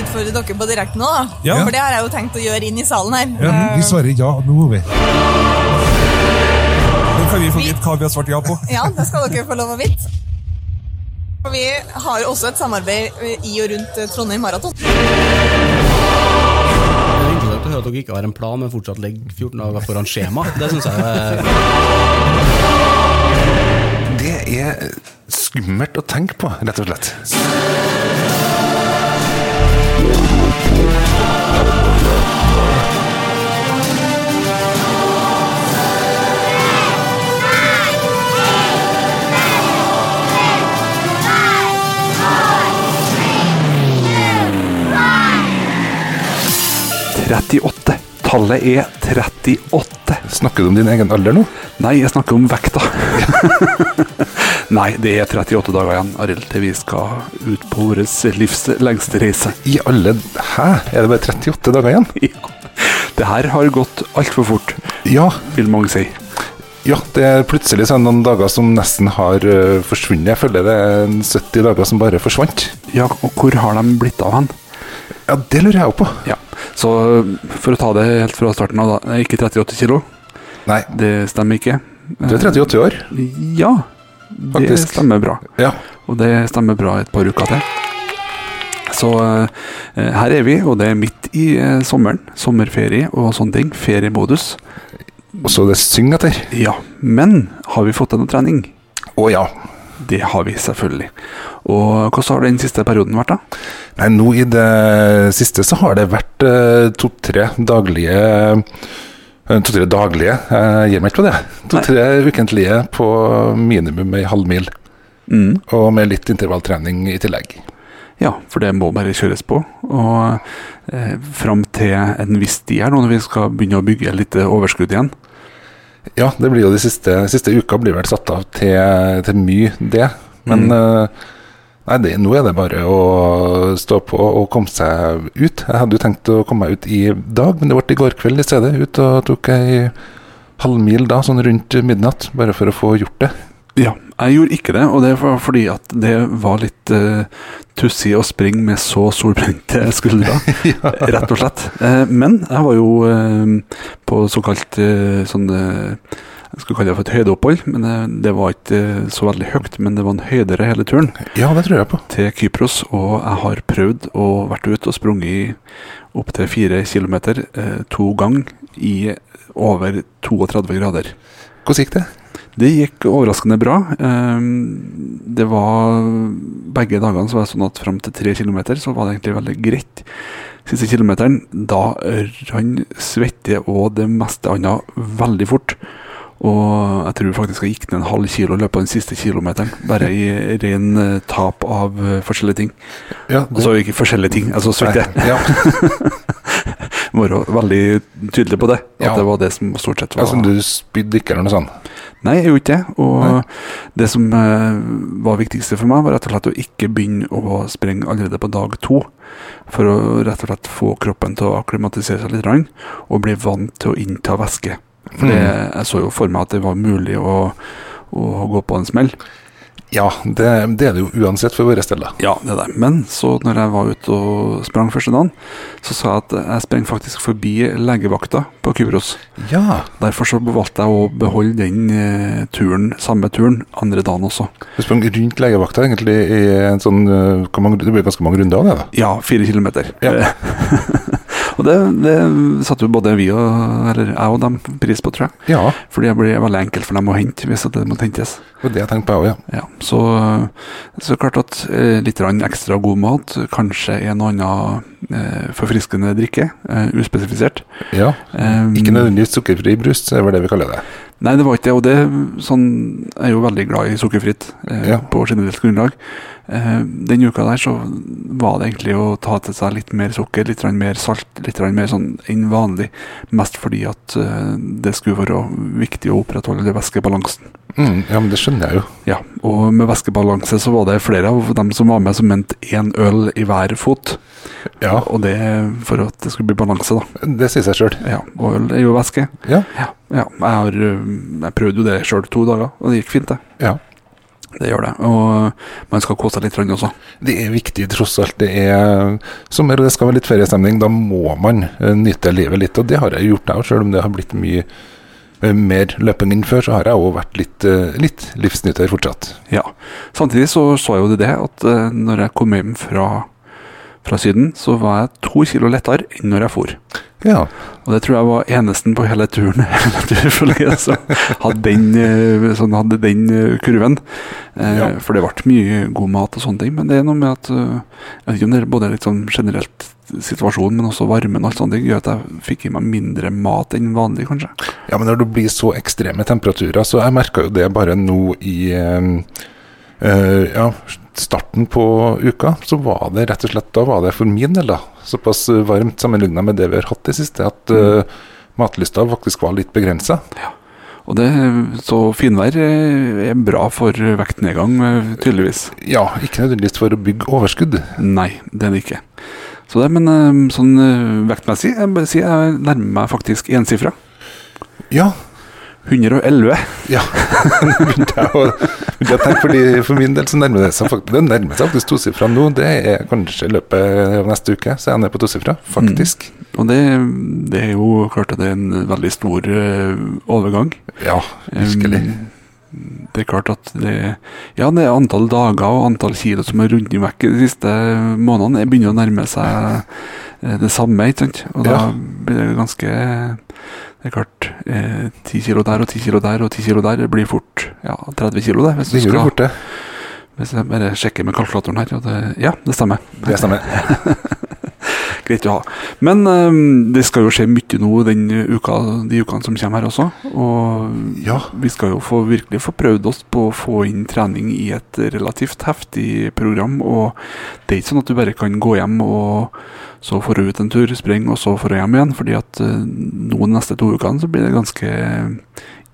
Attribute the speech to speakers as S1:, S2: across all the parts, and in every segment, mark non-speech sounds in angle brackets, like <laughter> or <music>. S1: utfordre dere på direkten nå, da.
S2: Ja.
S1: For det har jeg jo tenkt å gjøre inn i salen her.
S2: Ja, vi svarer ja nå, vi.
S3: Nå kan vi få vite hva vi har svart ja på.
S1: Ja, det skal dere få lov å vite. For vi har jo også et samarbeid eh, i og rundt eh, Trondheim Maraton.
S4: Det er interessant å høre at dere ikke har en plan, men fortsatt ligger 14 dager foran skjema. Det synes jeg er
S5: Det er skummelt å tenke på, rett og slett.
S6: Tallet er 38.
S5: Snakker du om din egen alder nå?
S6: Nei, jeg snakker om vekta. <laughs> Nei, det er 38 dager igjen, Arild, til vi skal ut på vår livs lengste reise. <laughs>
S5: I alle Hæ? Er det bare 38 dager igjen?
S6: Ja. Det her har gått altfor fort,
S5: Ja.
S6: vil mange si.
S5: ja det er plutselig så er det noen dager som nesten har øh, forsvunnet. Jeg føler det er en 70 dager som bare forsvant.
S6: Ja, og hvor har de blitt av hen?
S5: Ja, det lurer jeg òg på.
S6: Ja, Så eh, for å ta det helt fra starten av, da. Ikke 38 kilo,
S5: Nei,
S6: det stemmer ikke. Eh,
S5: du er 38 år.
S6: Ja, det
S5: Faktisk.
S6: stemmer bra.
S5: Ja.
S6: Og det stemmer bra et par uker til. Så eh, her er vi, og det er midt i eh, sommeren. Sommerferie og sånne ting. Feriemodus.
S5: Og så er det syng etter.
S6: Ja, men har vi fått til noe trening?
S5: Å ja.
S6: Det har vi selvfølgelig. Og hvordan har den siste perioden vært, da?
S5: Nei, nå i det siste så har det vært eh, to-tre daglige eh, To-tre daglige, jeg gir meg ikke på det. To-tre ukentlige på minimum ei halv mil.
S6: Mm.
S5: Og med litt intervalltrening i tillegg.
S6: Ja, for det må bare kjøres på. Og eh, fram til en viss tid her, nå når vi skal begynne å bygge litt eh, overskudd igjen.
S5: Ja, det blir jo de siste, siste uka blir vel satt av til, til mye det. Men eh, nei, det, nå er det bare å stå på og komme seg ut. Jeg hadde jo tenkt å komme meg ut i dag, men det ble i går kveld i stedet. Ut og tok ei halv mil da, sånn rundt midnatt, bare for å få gjort det.
S6: Ja, jeg gjorde ikke det, og det var fordi at det var litt eh, tussig å springe med så solbrente <laughs> skuldre, rett og slett. Eh, men jeg var jo eh, på såkalt eh, sånn eh, Jeg skulle kalle det for et høydeopphold, men eh, det var ikke eh, så veldig høyt. Men det var en høydere hele turen
S5: Ja, det tror jeg på.
S6: til Kypros, og jeg har prøvd å vært ute og sprunget opptil fire kilometer eh, to ganger i over 32 grader.
S5: Hvordan gikk det?
S6: Det gikk overraskende bra. Ehm, Det var Begge dagene så var det sånn at fram til tre kilometer så var det egentlig veldig greit. Siste kilometeren, da rann svette og det meste annet veldig fort. Og jeg tror faktisk jeg gikk ned en halv kilo i løpet av den siste kilometeren. Bare i ren eh, tap av eh, forskjellige ting.
S5: Ja,
S6: Altså ikke forskjellige ting, altså svette.
S5: Nei, ja.
S6: Må være veldig tydelig på det. At
S5: Ja.
S6: det var det som stort sett var
S5: altså du spydde ikke eller noe sånt?
S6: Nei, jeg gjorde ikke det. Og det som eh, var viktigste for meg, var rett og slett å ikke begynne å sprenge allerede på dag to. For å rett og slett få kroppen til å akklimatisere seg litt grann, og bli vant til å innta væske. For det, jeg så jo for meg at det var mulig å, å gå på en smell.
S5: Ja, det, det er det jo uansett for våre steder.
S6: Ja, det der. Men så når jeg var ute og sprang første dagen, så sa jeg at jeg sprang faktisk forbi legevakta på Kypros.
S5: Ja.
S6: Derfor så valgte jeg å beholde den eh, turen, samme turen, andre dagen også.
S5: Du sprang rundt legevakta egentlig i en sånn øh, hvor mange, Det ble ganske mange runder av det, da.
S6: Ja, fire kilometer. Eh,
S5: Ja.
S6: <laughs> og det, det satte jo både vi og eller jeg og dem pris på, tror jeg.
S5: Ja,
S6: Fordi det blir veldig enkelt for dem å hente hvis at det må hentes.
S5: det var det jeg tenkte på, jeg òg,
S6: Ja,
S5: ja.
S6: så, så klart at eh, litt grann ekstra god mat, kanskje en og annen eh, forfriskende drikke, eh, uspesifisert.
S5: ja.
S6: Eh,
S5: Ikke nødvendigvis sukkerfri brus, det var det vi kaller det.
S6: Nei, det var ikke det. Og det sånn, jeg er jo veldig glad i sukkerfritt eh,
S5: Ja.
S6: på generelt grunnlag. Eh, den uka der så var det egentlig å ta til seg litt mer sukker, litt grann mer salt, litt grann mer sånn enn vanlig. Mest fordi at eh, det skulle være viktig å opprettholde væskebalansen.
S5: Mm, ja, men det skjønner jeg jo.
S6: Ja, og med væskebalanse så var det flere av dem som var med som mente én øl i hver fot.
S5: Ja,
S6: Og det for at det skulle bli balanse, da.
S5: Det sier seg sjøl.
S6: Ja, og øl er jo væske.
S5: Ja.
S6: eh, Ja, ja. Jeg, har, øhm, jeg prøvde jo det sjøl to dager, og det gikk fint, det.
S5: Ja.
S6: Det gjør det. Og eh, man skal kose seg litt grann også.
S5: Det er viktig, tross alt. Det er sommer, og det skal være litt feriestemning. Da må man eh, nyte livet litt, og det har jeg gjort, jeg òg. Selv om det har blitt mye eh, mer løping enn før, så har jeg òg vært litt, eh, litt livsnyter fortsatt.
S6: Ja. Samtidig så så jeg jo det det at eh, når jeg kom hjem fra, fra Syden, så var jeg to kilo lettere enn når jeg for.
S5: Ja,
S6: Og det tror jeg var enesten på hele turen <laughs> hele turfølget som hadde den, eh, som hadde den eh, kurven. Eh,
S5: Ja.
S6: For det ble mye god mat og sånne ting, men det er noe med at eh, Jeg vet ikke om det er både liksom generelt situasjonen, men også varmen og alt sånt, det gjør at jeg fikk i meg mindre mat enn vanlig, kanskje.
S5: Ja, men når det blir så ekstreme temperaturer, så jeg merka jo det bare nå i eh, eh, ja, starten på uka, så var det rett og slett Da var det for min del da, såpass eh, varmt sammenligna med det vi har hatt det siste, at eh, matlysta faktisk var litt begrensa.
S6: Og det, så finvær eh, er bra for vektnedgang, eh, tydeligvis.
S5: Ja, ikke nødvendigvis for å bygge overskudd.
S6: Nei, det er det ikke. Så det, men eh, sånn eh, vektmessig, jeg bare sier, jeg nærmer meg faktisk ensifra.
S5: Ja,
S6: 111.
S5: ja. <laughs> Begynte jeg å- begynte jeg å tenke, fordi For min del så nærmer det seg faktisk, det nærmer seg faktisk tosifra nå. Det er kanskje i løpet av neste uke, så er jeg nede på tosifra, faktisk.
S6: Og det, det er jo klart at det er en veldig stor eh, overgang.
S5: Mm. Ja, virkelig.
S6: Um, det er klart at det Ja, det er antall dager og antall kilo som er rundet vekk de siste månedene. Det begynner å nærme seg eh, det samme, ikke sant. Og da
S5: Ja.
S6: blir det ganske Det er klart, eh, 10 kilo der og 10 kilo der og 10 kilo der det blir fort ja, 30 kilo, det. Hvis du
S5: Det gjør
S6: skal
S5: jo fort det.
S6: Hvis jeg bare sjekker med kalkulatoren her, og det, ja, det stemmer.
S5: Det stemmer.
S6: Greit å ha. Men eh, det skal jo skje mye nå den uka, de ukene som kommer her også. Og
S5: Ja.
S6: vi skal jo få, virkelig få prøvd oss på å få inn trening i et relativt heftig program. Og det er ikke sånn at du bare kan gå hjem og så får du ut en tur, springe, og så får du hjem igjen. Fordi at eh, nå de neste to ukene så blir det ganske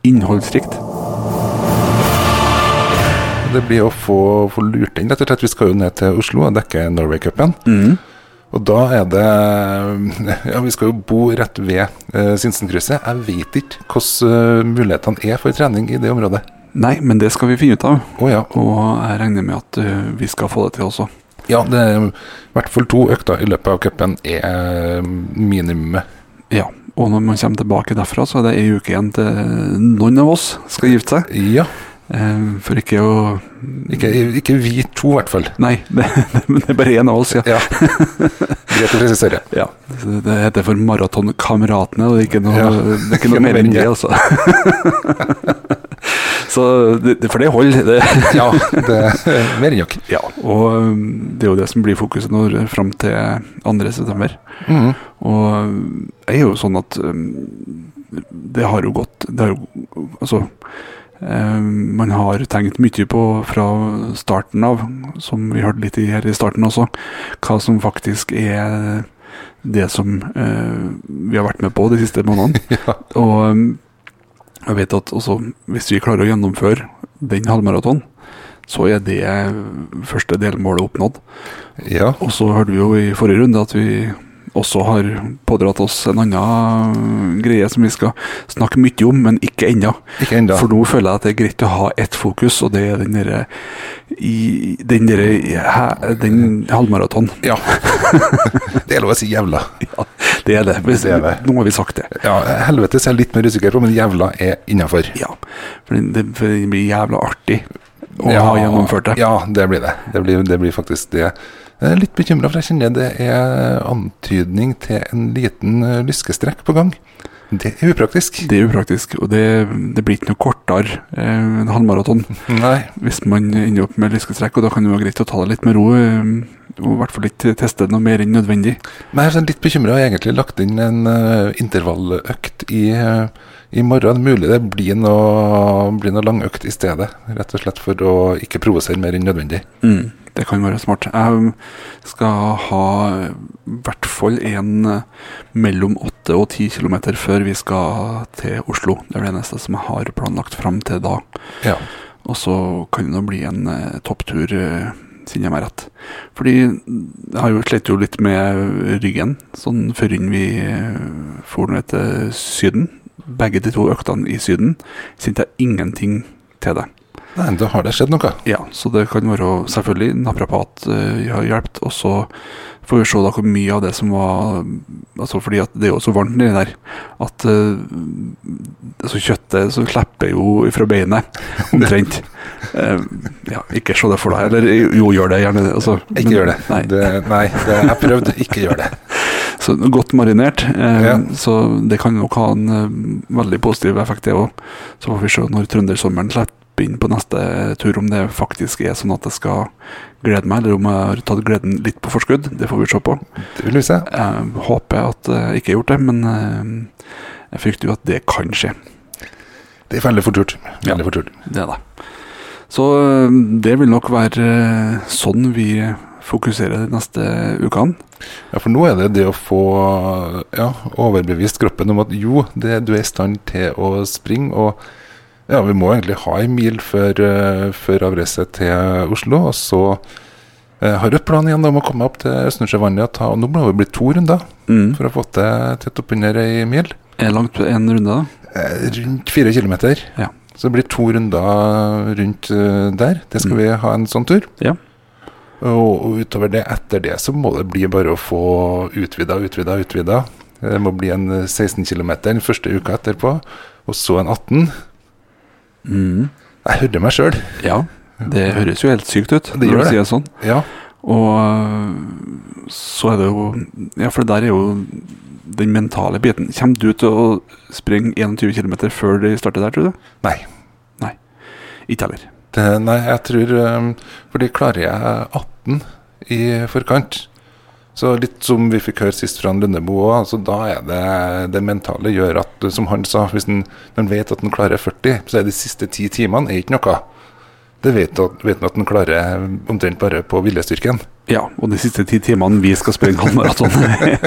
S6: innholdsrikt.
S5: Det blir å få, få lurt inn, rett og slett. Vi skal jo ned til Oslo og dekke Norway-cupen. Og da er det <laughs> Ja, vi skal jo bo rett ved eh, Sinsenkrysset. Jeg vet ikke hvordan eh, mulighetene er for trening i det området.
S6: Nei, men det skal vi finne ut av.
S5: Å ja.
S6: Og jeg regner med at eh, vi skal få det til også.
S5: Ja, det er i hvert fall to økter i løpet av cupen er eh, minimumet.
S6: Ja, og når man kommer tilbake derfra, så er det ei uke igjen til noen av oss skal gifte seg.
S5: Ja.
S6: Eh, For ikke å
S5: Ikke, ikke vi to, i hvert fall.
S6: Nei, <laughs> det, det er bare én av oss, ja.
S5: Ja. Greit å presisere.
S6: ja. Så Det heter for Maratonkameratene, og det er ikke noe,
S5: Ja.
S6: det er ikke noe mer enn det, altså. <laughs> Så, det, det- for det holder. Det,
S5: <laughs> Ja, det er mer enn nok.
S6: ja. Og um, det er jo det som blir fokuset når fram til 2. september.
S5: Mhm.
S6: Og um, jeg er jo sånn at um, det har jo gått Det har jo Altså um, Man har tenkt mye på fra starten av, som vi hørte litt i her i starten også, hva som faktisk er det som eh, vi har vært med på de siste månedene.
S5: Ja.
S6: Og um, jeg vet at også, hvis vi klarer å gjennomføre den halvmaraton, så er det første delmålet oppnådd.
S5: ja.
S6: Og så hørte vi jo i forrige runde at vi også har pådratt oss en annen eh, greie som vi skal snakke mye om, men ikke ennå.
S5: Ikke ennå.
S6: For nå føler jeg at det er greit å ha ett fokus, og det er den derre i- Den derre hæ- Den halvmaraton. <laughs>
S5: Ja. <laughs> Det er lov å si jævla.
S6: Ja, det er det. Hvis-
S5: Det er det.
S6: Nå har vi sagt det.
S5: Ja, helvetes er jeg litt mer usikker på, men jævla er innafor.
S6: Ja. For det, det for det blir jævla artig å ha gjennomført det.
S5: Ja, det blir det. Det blir, det blir faktisk det. Jeg er litt bekymra, for jeg kjenner det er antydning til en liten eh, lyskestrekk på gang. Det er upraktisk.
S6: Det er upraktisk, og det, det blir ikke noe kortere eh, en halvmaraton.
S5: Nei.
S6: hvis man ender opp med lyskestrekk, og da kan det være greit å ta det litt med ro. eh, Og i hvert fall ikke teste noe mer enn nødvendig.
S5: Men jeg er sånn litt bekymra. Jeg har egentlig lagt inn en eh, intervalløkt i, eh, i morgen. Mulig det blir noe, blir noe langøkt i stedet. Rett og slett for å ikke provosere mer enn nødvendig.
S6: Mm. Det kan være smart. Jeg skal ha i hvert fall en eh, mellom 8 og 10 km før vi skal til Oslo. Det er det eneste som jeg har planlagt fram til da.
S5: Ja.
S6: Og så kan det nå bli en eh, topptur, eh, siden jeg meg rett. Fordi jeg har jo slitt jo litt med ryggen, sånn før inn vi eh, for ned til Syden. Begge de to øktene i Syden kjente jeg ingenting til det.
S5: Nei, da har det skjedd noe.
S6: Ja, så det kan være selvfølgelig naprapat eh, har hjulpet, og så får vi se da hvor mye av det som var altså fordi at det er jo så varmt nedi der at eh, altså kjøttet så slipper jo fra
S5: <laughs>
S6: beinet omtrent. Eh, ja, ikke se det for deg, eller jo, gjør det gjerne. Altså,
S5: Ikke
S6: men-
S5: gjør det.
S6: Nei,
S5: det nei, det jeg prøvde. Ikke gjør det.
S6: så godt marinert. Eh,
S5: Ja.
S6: Så det kan nok ha en eh, veldig positiv effekt, det òg. Så får vi se når trøndersommeren slipper inn på neste tur, om det faktisk er sånn at jeg skal glede meg, eller om jeg har tatt gleden litt på forskudd. Det får vi se på.
S5: Det vil vi se.
S6: Jeg håper at jeg ikke har gjort det, men eh, jeg frykter jo at det kan skje.
S5: Det er veldig fort gjort.
S6: Ja.
S5: Veldig fort gjort.
S6: Det da. Så eh, det vil nok være eh, sånn vi fokuserer de neste ukene.
S5: Ja, for nå er det det å få ja, overbevist kroppen om at jo, det, du er i stand til å springe. Og ja, vi må egentlig ha en mil før, eh, før avreise til Oslo. Og så eh, har jeg planen igjen da om å komme opp til Østensjøvannet og ta og Nå må det bli to runder
S6: Mm.
S5: for å få til tett oppunder ei mil.
S6: Er det langt en runde, da?
S5: Eh, Rundt fire kilometer.
S6: Ja.
S5: Så det blir to runder rundt eh, der. Det skal
S6: Mm.
S5: vi ha en sånn tur.
S6: Ja.
S5: Og og utover det, etter det, så må det bli bare å få utvida, utvida, utvida. Det må bli en eh, 16 km den første uka etterpå, og så en 18.
S6: Mm.
S5: Jeg hører meg sjøl.
S6: Ja, det høres jo helt sykt ut
S5: gjør
S6: når du
S5: det.
S6: sier det sånn.
S5: Ja.
S6: Og øh, så er det jo Ja, for der er jo den mentale biten. Kommer du til å springe 21 km før de starter der, tror du?
S5: Nei.
S6: Ikke heller.
S5: Det, nei, jeg tror eh, Fordi klarer jeg 18 i forkant så litt som vi fikk høre sist fra han Lundebo òg, altså da er det det mentale gjør at, som han sa, hvis han, når han vet at han klarer 40, så er de siste ti timene er ikke noe. Det vet at- vet han at han klarer omtrent bare på viljestyrken.
S6: Ja, og de siste ti timene vi skal springe
S5: <laughs>
S6: halvmaraton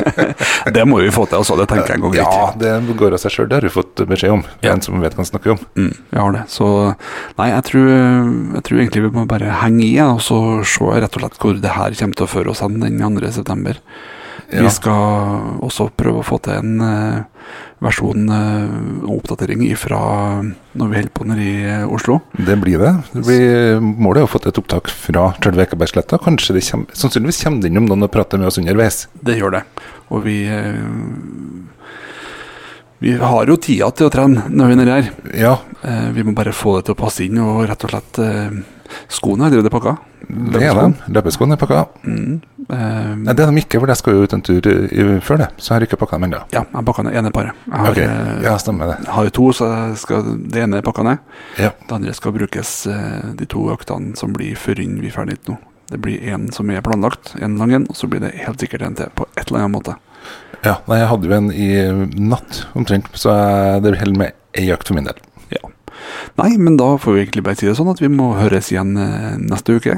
S6: <laughs> Det må vi få til, altså. Det tenker jeg går greit.
S5: Ja, det går av seg sjøl, det har du fått beskjed om.
S6: Ja.
S5: En som vet hva han snakker om.
S6: Mm, jeg har det. Så nei, jeg tror, jeg tror egentlig vi må bare henge i, ja, og så se rett og slett hvor det her kommer til å føre oss hen den 2. september.
S5: Ja.
S6: Vi skal også prøve å få til en eh, versjon eh, oppdatering fra når vi holder på nede i eh, Oslo.
S5: Det blir det. det blir, målet er å få til et opptak fra selve Ekebergsletta. Kanskje det kommer, sannsynligvis kommer det innom noen og prater med oss underveis.
S6: Det gjør det. Og vi eh, vi har jo tida til å trene når vi er nede her.
S5: Ja,
S6: Eh, Vi må bare få det til å passe inn og rett og slett eh, Skoene er allerede pakka.
S5: det er dem. Løpeskoene er pakka.
S6: Mm. eh,
S5: Nei, det er de ikke, for jeg skal jo ut en tur i, før det. Så jeg har ikke pakka dem ennå.
S6: Ja, jeg pakka ned ene paret. Jeg har,
S5: Ok,
S6: eh,
S5: ja, stemmer det.
S6: jeg har jo to, så jeg skal, det ene er pakka ned.
S5: Ja.
S6: Det andre skal brukes eh, de to øktene som blir før inn vi er ferdig nå. Det blir én som er planlagt, én lang en, og så blir det helt sikkert en til på et eller annet måte.
S5: Ja, nei, jeg hadde jo en i natt omtrent, så jeg- det holder med ei økt for min del.
S6: Nei, men da får vi egentlig bare si det sånn at vi må høres igjen eh, neste uke.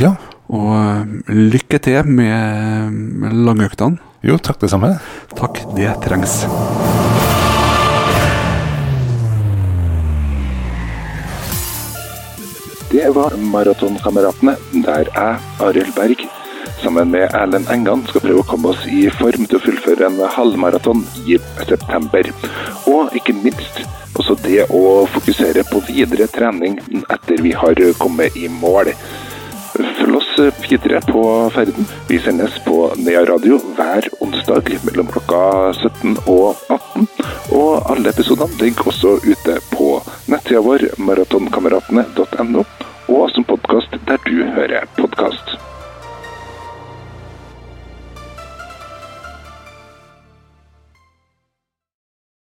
S5: Ja,
S6: Og eh, lykke til med, med langøktene.
S5: jo, takk det samme.
S6: Takk, det trengs.
S5: Det var Maratonkameratene, der jeg, Arild Berg, sammen med Erlend Engan skal prøve å komme oss i form til å fullføre en halvmaraton i september. Og ikke minst også det å fokusere på videre trening etter vi har kommet i mål. Følg oss videre på ferden. Vi sendes på Nea Radio hver onsdag mellom klokka 17 og 18. Og alle episodene ligger også ute på nettsida vår maratonkameratene.no, og som podkast der du hører podkast.